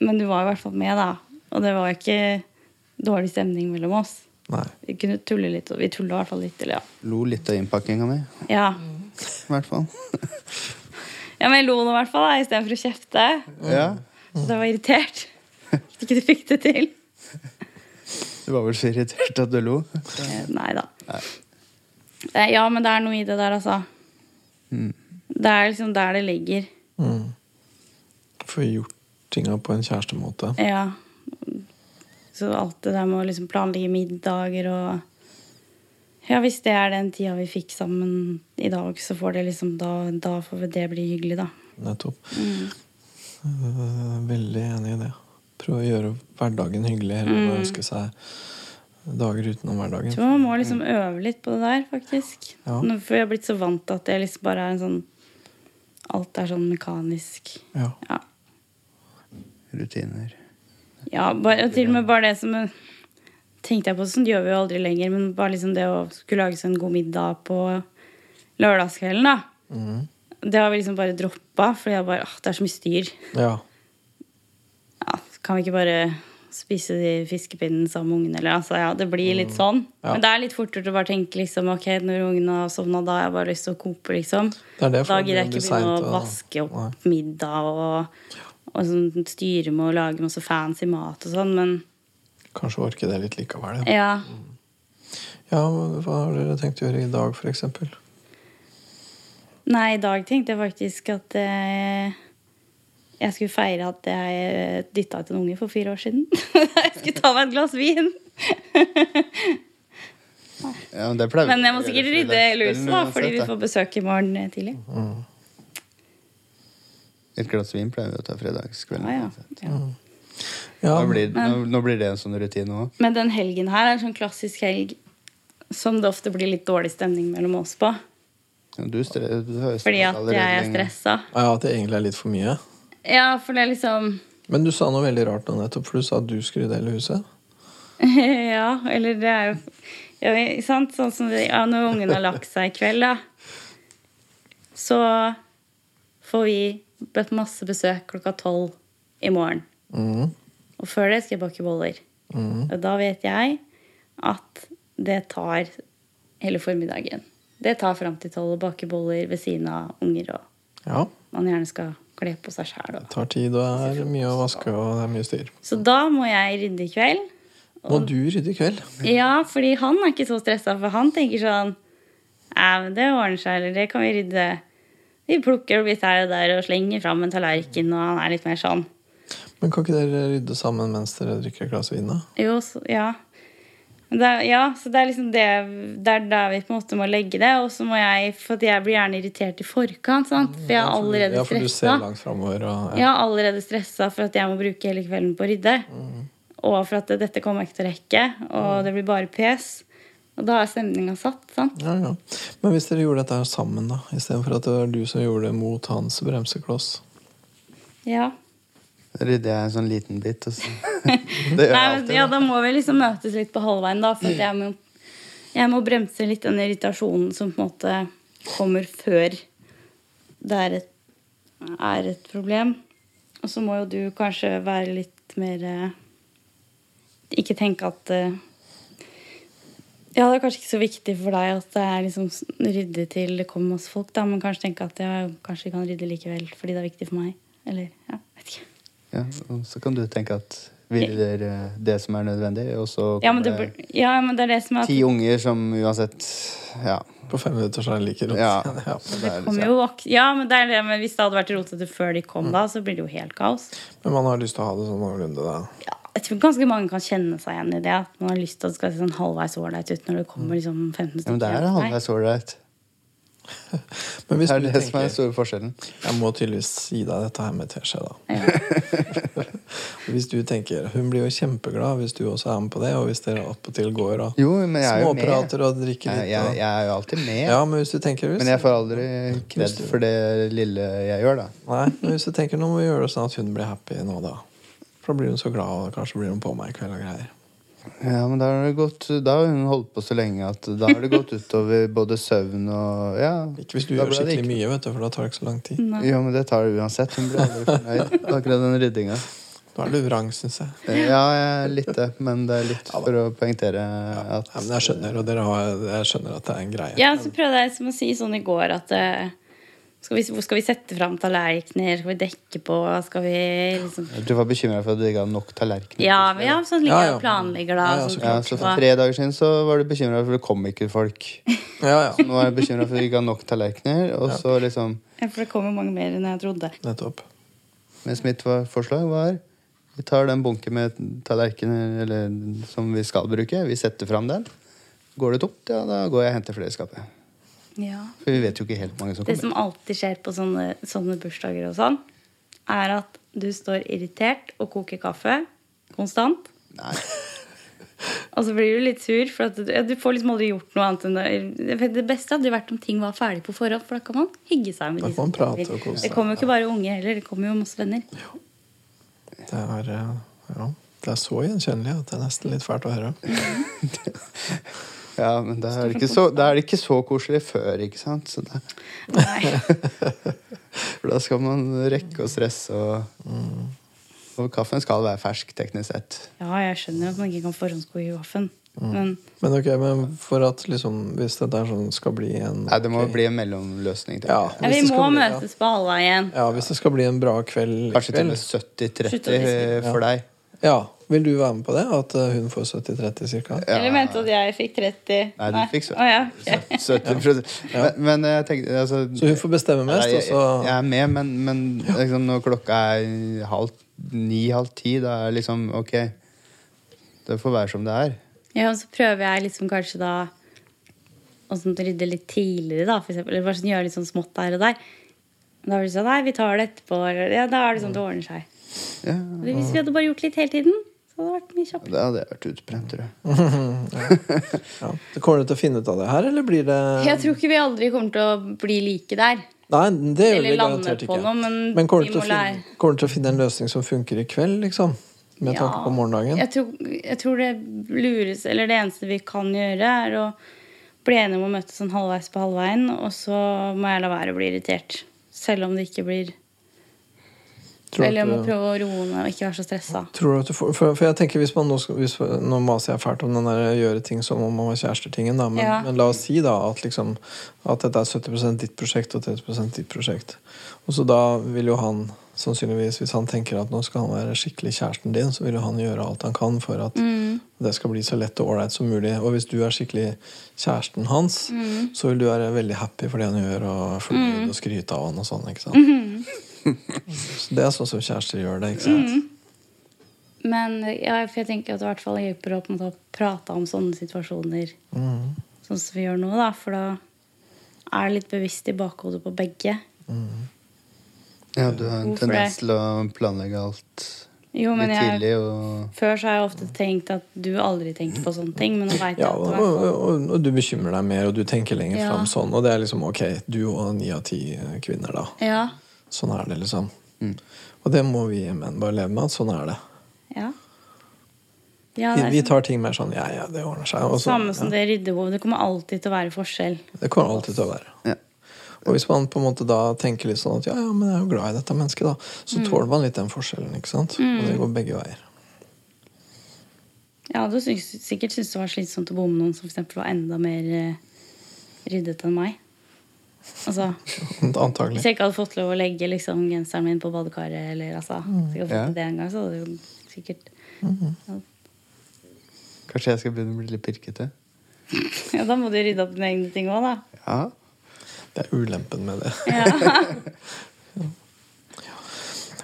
men du var i hvert fall med, da. Og det var ikke dårlig stemning mellom oss. Nei. Vi kunne tulle litt, og vi tulla i hvert fall litt til, ja. Lo litt av innpakkinga mi, Ja, i hvert fall. ja men jeg lo nå i hvert fall, da, istedenfor å kjefte. Ja. Så det var irritert. At ikke du fikk det til. Du var vel så irritert at du lo. Eh, Nei da. Eh, Ja, men det er noe i det der, altså. Det er liksom der det ligger. Mm. Få gjort tinga på en kjærestemåte. Ja. Så alt det der med å liksom planlegge middager og Ja, hvis det er den tida vi fikk sammen i dag, så får det liksom da, da får det bli hyggelig, da. Mm. Nettopp. Eh, Veldig enig i det. Prøve å gjøre hverdagen hyggelig heller enn å ønske seg dager utenom Jeg hverdagen. Mm. tror man må liksom øve litt på det der, faktisk. Ja. Nå, for jeg er blitt så vant til at det liksom bare er en sånn Alt er sånn mekanisk. Ja. Ja. Rutiner. Ja, bare, og til og med bare det som eh, tenkte jeg på, sånn gjør vi jo aldri lenger, men bare liksom det å skulle lage seg en god middag på lørdagskvelden, da. Mm. Det har vi liksom bare droppa, fordi jeg bare, åh, det er så mye styr. ja. Ja, kan vi ikke bare spise de fiskepinnene sammen med ungene, eller altså, ja, det blir litt sånn. Mm. Ja. Men det er litt fortere å bare tenke liksom, ok, når ungene har sovna, da har jeg bare lyst til å koke, liksom. Det er det, for da det gidder jeg blir ikke sent, begynne å og- vaske opp middag og, og sånn, styre med å lage masse fancy mat og sånn, men Kanskje orke det litt likevel. Ja. ja. ja, men Hva har dere tenkt å gjøre i dag, for eksempel? Nei, i dag tenkte jeg faktisk at eh, jeg skulle feire at jeg dytta ut en unge for fire år siden. jeg skulle ta meg et glass vin. Ja, men det pleier vi Men jeg å må gjøre sikkert før rydde lørdagskvelden lusen, da, uansett, fordi vi da. får besøk i morgen eh, tidlig. Mm. Et glass vin pleier vi å ta fredagskvelden. Ah, ja. uansett. Ja. Ja, Nå, blir, nå, nå blir det en sånn rutine òg. Men den helgen her er en sånn klassisk helg som det ofte blir litt dårlig stemning mellom oss på. Du, stre- du har jo Fordi stresset at allerede jeg er lenge. stressa. ja, at det egentlig er litt for mye. Ja, for det er liksom Men du sa noe veldig rart nå nettopp, for du sa at du skulle dele huset. Ja, eller det er jo ja, ikke sant? Sånn som det, ja, Når ungen har lagt seg i kveld, da, så får vi bøtt masse besøk klokka tolv i morgen. Mm. Og før det skal jeg bake boller. Og da vet jeg at det tar hele formiddagen. Det tar fram til tolv å bake boller ved siden av unger, og Ja. man gjerne skal kle på seg sjæl. Det tar tid, og det er mye å vaske, og det er mye styr. Så da må jeg rydde i kveld. Må du rydde i kveld? Ja, fordi han er ikke så stressa, for han tenker sånn «Æ, men det ordner seg, eller det kan vi rydde. Vi plukker opp litt her og der og slenger fram en tallerken, og han er litt mer sånn. Men kan ikke dere rydde sammen mens dere drikker et glass vin, da? Jo, så, ja. Men Det, er- ja, så det er liksom det Det er der vi på en måte må legge det. Og så må jeg For at jeg blir gjerne irritert i forkant, sant? for jeg er allerede Ja, for du ser stressa. langt framover. Og, Jeg er allerede stressa for at jeg må bruke hele kvelden på å rydde. Mm. Og for at dette kommer jeg ikke til å rekke, og det blir bare pes. Og da er stemninga satt, sant? Ja, ja. Men hvis dere gjorde dette her sammen, da? Istedenfor at det var du som gjorde det mot hans bremsekloss? Ja. Da rydder jeg en sånn liten bit. Og så. Det gjør jeg Nei, men, alltid. ja, da må vi liksom møtes litt på halvveien, da. For at jeg, må, jeg må bremse litt den irritasjonen som på en måte kommer før det er et, er et problem. Og så må jo du kanskje være litt mer eh, Ikke tenke at eh, Ja, det er kanskje ikke så viktig for deg at det er liksom s- rydde til det kommer masse folk, da, men kanskje tenke at ja, kanskje vi kan rydde likevel fordi det er viktig for meg. Eller ja, vet ikke. Ja, og så kan du tenke at hviler eh, det som er nødvendig, og så Ja, men kommer det, det bur- ja, men det er det som er at ti unger som uansett Ja. På fem minutter så er det like rått. Ja. Ja. Så det er liksom- kommer jo vok Ja, men det er det, men hvis det hadde vært rotete før de Mm. kom, da, så blir det jo helt kaos. Men man har lyst til å ha det sånn noenlunde, da. Ja, jeg tror ganske mange kan kjenne seg igjen i det. At man har lyst til at det skal se sånn halvveis ålreit ut når det kommer liksom 15 Mm. Ja, stykker. men det er rundt deg. halvveis ålreit. Men Det hvis er du det som er den tenker store forskjellen. Jeg må tydeligvis gi deg dette her med teskje, da. Ja. Hvis du tenker Hun blir jo kjempeglad hvis du også er med på det, og hvis dere attpåtil går og Jo, men jeg er jo med. småprater og drikker Jeg, litt. jeg, og- jeg er jo alltid med. Ja, men hvis du tenker hvis, Men jeg får aldri kred for det lille jeg gjør, da. Nei, men hvis du tenker nå må vi gjøre det sånn at hun blir happy nå, da. For da blir hun så glad, og kanskje blir hun på meg i kveld og greier. Ja, men da har, det gått, da har hun holdt på så lenge at da har det gått utover både søvn og Ja. Ikke hvis du da gjør ble det skikkelig ikke- mye, vet du, for da tar det ikke så lang tid. Jo, men det tar det uansett. Hun blir aldri fornøyd. Akkurat den ryddinga. Nå er du vrang, syns jeg. Ja, jeg er litt det, men det er litt for å poengtere at Ja, men jeg skjønner, og dere har, jeg skjønner at det er en greie. Ja, så prøvde jeg liksom å si sånn i går at eh, skal vi, hvor skal vi sette fram tallerkener? Skal vi dekke på? Skal vi liksom Du var bekymra for at du ikke hadde nok tallerkener. Ja, men ja sånn ligger Ja, jeg ja. og planlegger, da. Ja, ja, og så sånn. Ja, så for tre dager siden så var du bekymra for det kom ikke folk. Ja, ja. Nå er jeg bekymra for at du ikke har nok tallerkener. Og så liksom Ja, For det kommer mange mer enn jeg trodde. Nettopp. Mens mitt var- forslag var vi tar den bunken med tallerkener eller, som vi skal bruke. Vi setter fram den. Går det tomt, ja, da går jeg og henter flere i skapet. Ja. For vi vet jo ikke helt mange som Det kommer. som alltid skjer på sånne, sånne bursdager og sånn, er at du står irritert og koker kaffe konstant. Nei. Og så blir du litt sur, for at du, ja, du får liksom aldri gjort noe annet enn det. for Det beste hadde jo vært om ting var ferdig på forhånd, for da kan man hygge seg med Da de kan man som prate kommer. og kose Det seg. kommer jo ikke bare unge heller, det kommer jo masse venner. Det er, eh, ja, det er så gjenkjennelig at det er nesten litt fælt å høre. Ja, men da er, det ikke så, da er det ikke så koselig før, ikke sant? Så da, Nei. for da skal man rekke å stresse og Mm. Og kaffen skal være fersk, teknisk sett. Ja, jeg skjønner at man ikke kan forhåndskoke kaffen, Mm. men Men ok, men for at liksom Hvis det der sånn skal bli en Nei, det må ok- bli en mellomløsning. tenker Ja. jeg. ja, hvis vi det skal må bli- ja. møtes på halvveien. Ja, hvis det skal bli en bra kveld i Kanskje til og med kveld. 70-30 for deg. Ja, Vil du være med på det? At eh, hun får 70-30 ca.? Ja. Eller mente at jeg fikk 30? Nei, du fikk så- Å, ja. ok. 70 men, men jeg tenkte altså, Så hun får bestemme mest, altså? Nei, og så jeg, jeg er med, men, men liksom, når klokka er halv ni, halv ti, da er det liksom ok Det får være som det er. Ja, og så prøver jeg liksom kanskje da å sånn rydde litt tidligere, da, for eksempel. Eller bare sånn, gjøre litt sånn smått der og der. Men Da var det sånn Nei, vi tar det etterpå. Eller, ja, da er det sånn det ordner seg. Ja, Men Hvis vi hadde bare gjort litt hele tiden, så hadde det vært mye kjappere. da hadde jeg vært utbrent, tror jeg. ja. Så Kommer du til å finne ut av det her, eller blir det Jeg tror ikke vi aldri kommer til å bli like der. Nei, det gjør Eller vi lande garantert på ikke. noe, men kommer vi du til, å må finne- kommer du til å finne en løsning som funker i kveld, liksom? Med Ja. tanke på morgendagen? Jeg tror, jeg tror det lures Eller det eneste vi kan gjøre, er å bli enige om å møtes sånn halvveis på halvveien, og så må jeg la være å bli irritert. Selv om det ikke blir Tror du Eller jeg må at du- prøve å roe meg og ikke være så stressa. Tror du at du får, for, for jeg tenker hvis man nå, skal, hvis, nå maser jeg fælt om den der gjøre ting som om man var kjærester-tingen, da, men, Ja. men la oss si da at, liksom, at dette er 70 ditt prosjekt og 30 ditt prosjekt. Og så da vil jo han sannsynligvis, hvis han tenker at nå skal han være skikkelig kjæresten din, så vil jo han gjøre alt han kan for at det skal bli så lett og ålreit som mulig. Og hvis du er skikkelig kjæresten hans, så vil du være veldig happy for det han gjør, og fornøyd og skryte av han og sånn. ikke sant? Så det er sånn som kjærester gjør det. ikke sant? Men ja, for jeg tenker at det i hvert fall hjelper å på en måte prate om sånne situasjoner. Mm. Sånn som vi gjør nå, da. For da er det litt bevisst i bakhodet på begge. Ja, du har en Hvorfor det? tendens til å planlegge alt Jo, men litt jeg, tidlig og før så har jeg ofte tenkt at du aldri tenker på sånne ting. Men nå veit jeg Ja, at og, og, det hvert fall og, og du bekymrer deg mer, og du tenker lenger Ja. fram sånn. Og det er liksom ok, du og ni av ti eh, kvinner, da. Ja. Sånn er det, liksom. Og det må vi menn bare leve med, at sånn er det. Ja. ja Vi, det er vi sånn- tar ting mer sånn ja, ja, det ordner seg. Og så, samme som det ryddebehovet. Det kommer alltid til å være forskjell. ja, det kommer alltid til å være. ja. Og hvis man på en måte da tenker litt sånn at ja, ja, men jeg er jo glad i dette mennesket, da, Mm. så tåler man litt den forskjellen, ikke sant? Og det går begge veier. Jeg hadde jo syns- sikkert syntes det var slitsomt å bo med noen som for eksempel var enda mer eh, ryddet enn meg. Altså, Antagelig. Hvis jeg ikke hadde fått Mm. lov å legge liksom, genseren min på badekaret, eller altså, hvis jeg ikke hadde fått Ja. til det en gang, så hadde det jo sikkert Kanskje jeg skal begynne å bli litt pirkete? Ja, da må du rydde opp dine egne ting òg, da. Ja. Det er ulempen med det. Ja.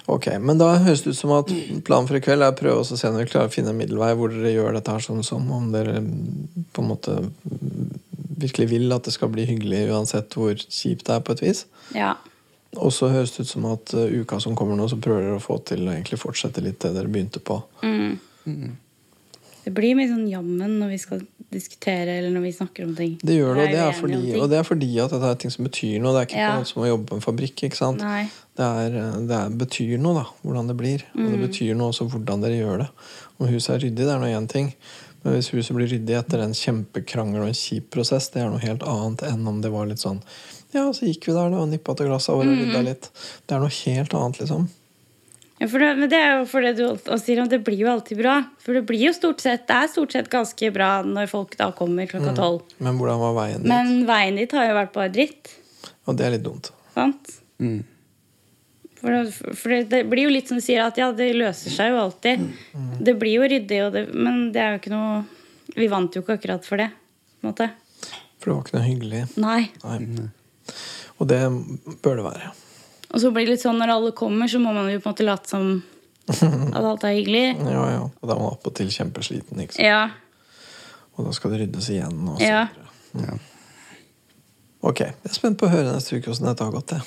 Ok, Men da høres det ut som at planen for i kveld er å prøve å se om vi klarer å finne en middelvei hvor dere gjør dette her sånn som om dere mm, på en måte mm, virkelig vil at det skal bli hyggelig uansett hvor kjipt det er, på et vis. ja. Og så høres det ut som at eh, uka som kommer nå, så prøver dere å få til å egentlig fortsette litt det dere begynte på. Mm. Det blir mye sånn jammen når vi skal diskutere eller når vi snakker om ting. Det gjør det, og det er Jeg uenig fordi, om ting. og det er fordi at dette er ting som betyr noe. Det er ikke Ja. på en måte som å jobbe på en fabrikk. ikke sant? Nei. Det, er, eh, det er, betyr noe, da, hvordan det blir. Og det Mm. betyr noe også hvordan dere gjør det. Om huset er ryddig, det er nå én ting. Men hvis huset blir ryddig etter en kjempekrangel og en kjip prosess, det er noe helt annet enn om det var litt sånn Ja, så gikk vi der, da, og nippa til glasset og rydda Mm. litt. Det er noe helt annet, liksom. Ja, for det, men det er jo for det du alt- og sier, og det blir jo alltid bra. For det blir jo stort sett, det er stort sett ganske bra når folk da kommer Mm. klokka tolv. Men hvordan var veien dit? Men veien dit har jo vært bare dritt. Og det er litt dumt. Sant? Mm. For, det, for det, det blir jo litt som du sier, at ja, det løser seg jo alltid. Det blir jo ryddig, og det, men det er jo ikke noe Vi vant jo ikke akkurat for det. På en måte. For det var ikke noe hyggelig. Nei. Nei. Og det bør det være. Og så blir det litt sånn når alle kommer, så må man jo på en måte late som at alt er hyggelig. Ja, ja. Og da er man oppåtil kjempesliten, ikke sant? Ja. og da skal det ryddes igjen. Og så Ja. videre. ja. Ok, Jeg er spent på å høre neste uke hvordan dette har gått. Jeg.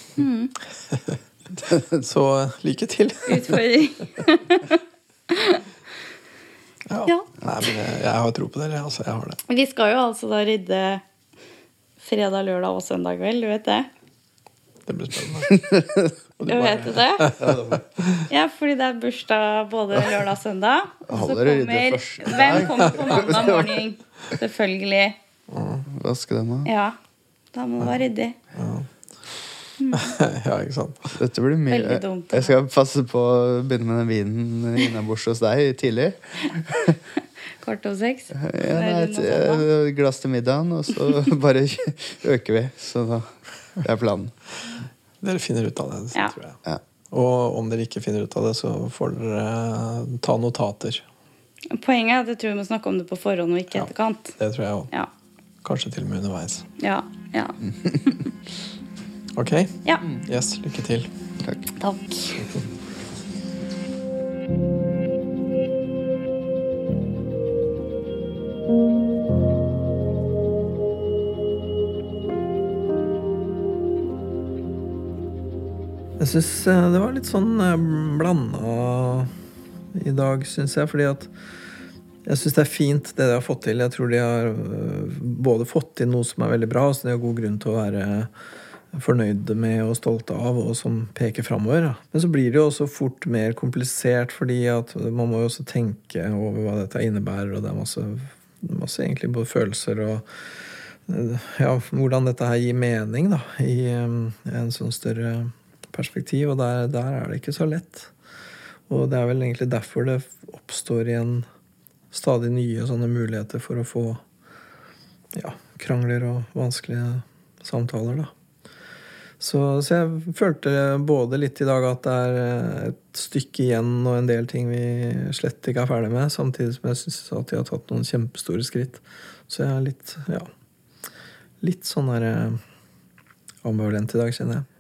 så eh, lykke til. Utfordring. Ja. Ja. Nei, men jeg, jeg har tro på dere. Altså, jeg har det. Vi skal jo altså da rydde fredag, lørdag og søndag kveld, du vet det? Det blir spennende. Du vet det? Ja, fordi det er bursdag både lørdag og søndag. Og så Alle rydder kommer først. Hvem kommer på mandag morgen? Selvfølgelig. Vaske dem av. Ja. Da må du være ryddig. ja, ikke sant? Dette blir mye. Veldig dumt. altså. Jeg skal passe på å begynne med den vinen innabords hos deg tidlig. Kvart over seks. Ja, nei, Eller noe et sånt da. eh, glass til middagen, og så bare øker vi. Så da Det er planen. Dere finner ut av det, Ja. tror jeg. Ja. Og om dere ikke finner ut av det, så får dere eh, ta notater. Poenget er at jeg tror vi må snakke om det på forhånd og ikke i etterkant. Det tror jeg òg. Ja. Kanskje til og med underveis. Ja. Ja. Ok? ja. Yes, lykke til. Takk. Takk. Jeg syns det var litt sånn blanda i dag, syns jeg. Fordi at jeg syns det er fint, det de har fått til. Jeg tror de har eh, både fått til noe som er veldig bra, så de har god grunn til å være fornøyde med og stolte av, og som peker framover. Men så blir det jo også fort mer komplisert, fordi at man må jo også tenke over hva dette innebærer, og det er masse, masse egentlig både følelser og eh, ja, hvordan dette her gir mening, da, i eh, en sånn større perspektiv, og der, der er det ikke så lett. Og det er vel egentlig derfor det oppstår igjen stadig nye sånne muligheter for å få ja, krangler og vanskelige samtaler, da. Så, så jeg følte både litt i dag at det er eh, et stykke igjen og en del ting vi slett ikke er ferdig med, samtidig som jeg syns at de har tatt noen kjempestore skritt. Så jeg er litt, ja Litt sånn der eh, ambivalent i dag, kjenner jeg.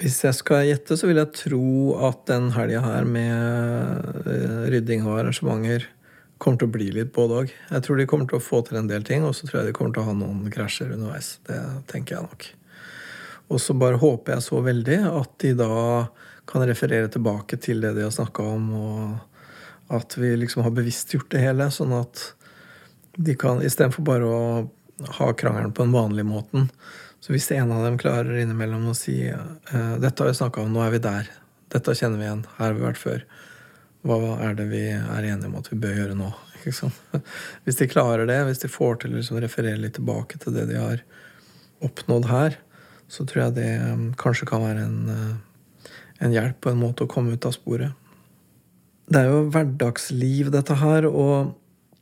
Hvis jeg skal gjette, så vil jeg tro at den helga her med eh, rydding og arrangementer kommer til å bli litt både òg. Jeg tror de kommer til å få til en del ting, og så tror jeg de kommer til å ha noen krasjer underveis. Det tenker jeg nok. Og så bare håper jeg så veldig at de da kan referere tilbake til det de har snakka om, og at vi liksom har bevisstgjort det hele, sånn at de kan, istedenfor bare å ha krangelen på den vanlige måten, så hvis en av dem klarer innimellom å si eh, 'Dette har vi snakka om, nå er vi der. Dette kjenner vi igjen. Her har vi vært før.' Hva er det vi er enige om at vi bør gjøre nå? Ikke sant? Hvis de klarer det, hvis de får til å liksom referere litt tilbake til det de har oppnådd her, så tror jeg det eh, kanskje kan være en, eh, en hjelp på en måte å komme ut av sporet det er jo hverdagsliv, dette her. Og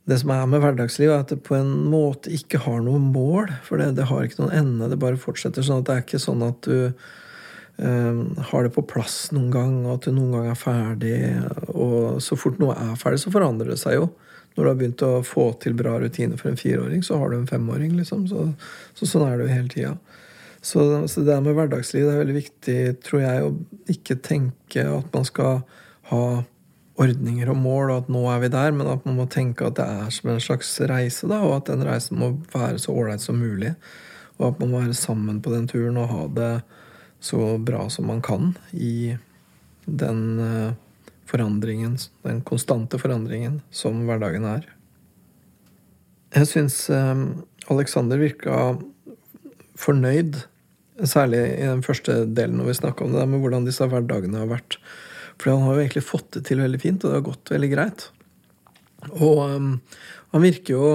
det som er med hverdagsliv, er at det på en måte ikke har noe mål. For det, det har ikke noen ende. Det bare fortsetter sånn at det er ikke sånn at du eh, har det på plass noen gang, og at det noen gang er ferdig. Og så fort noe er ferdig, så forandrer det seg jo. Når du har begynt å få til bra rutiner for en fireåring, så har du en femåring. liksom. Så, så sånn er det jo hele tida. Så, så det der med hverdagsliv det er veldig viktig, tror jeg, å ikke tenke at man skal ha ordninger og mål, og at nå er vi der, men at man må tenke at det er som en slags reise, da, og at den reisen må være så ålreit som mulig. Og at man må være sammen på den turen og ha det så bra som man kan i den eh, forandringen, den konstante forandringen som hverdagen er. Jeg syns eh, Alexander virka fornøyd, særlig i den første delen når vi snakka om det, der med hvordan disse hverdagene har vært. For han har jo egentlig fått det til veldig fint, og det har gått veldig greit. Og øhm, han virker jo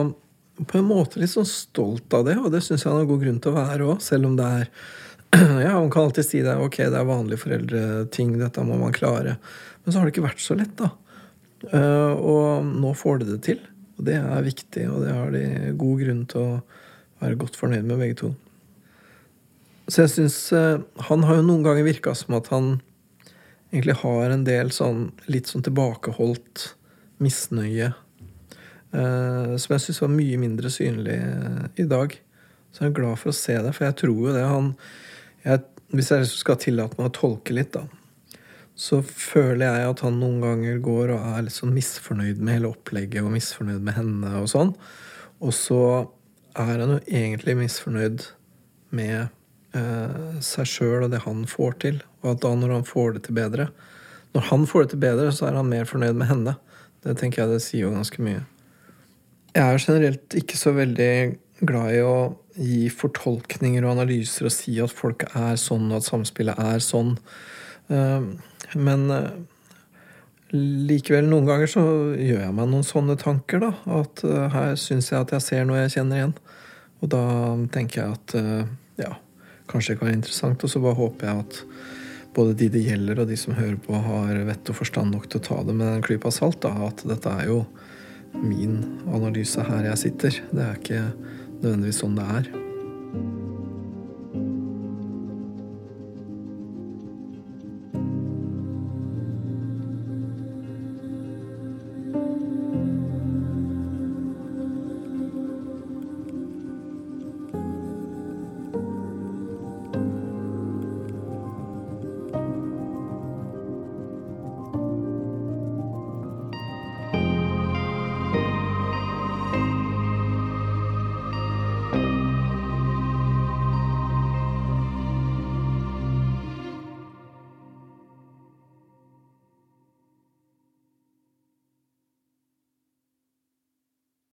på en måte litt sånn stolt av det, og det syns jeg han har god grunn til å være òg, selv om det er Ja, man kan alltid si det, ok, det er vanlige foreldreting, dette må man klare. Men så har det ikke vært så lett, da. Eh, og nå får de det til. Og det er viktig, og det har de god grunn til å være godt fornøyd med, begge to. Så jeg syns Han har jo noen ganger virka som at han egentlig har en del sånn litt sånn tilbakeholdt misnøye. eh, som jeg syns var mye mindre synlig eh, i dag. Så jeg er glad for å se det, for jeg tror jo det han jeg, Hvis jeg liksom skal tillate meg å tolke litt, da, så føler jeg at han noen ganger går og er litt sånn misfornøyd med hele opplegget og misfornøyd med henne og sånn. Og så er han jo egentlig misfornøyd med eh, seg sjøl og det han får til. Og at da når han får det til bedre Når han får det til bedre, så er han mer fornøyd med henne. Det tenker jeg det sier jo ganske mye. Jeg er generelt ikke så veldig glad i å gi fortolkninger og analyser og si at folk er sånn, og at samspillet er sånn. Eh, Men eh, likevel, noen ganger så gjør jeg meg noen sånne tanker, da. At eh, her syns jeg at jeg ser noe jeg kjenner igjen. Og da tenker jeg at eh, ja, kanskje det kan være interessant. Og så bare håper jeg at både de det gjelder, og de som hører på, har vett og forstand nok til å ta det med en klype av salt. Da, at dette er jo min analyse her jeg sitter. Det er ikke nødvendigvis sånn det er.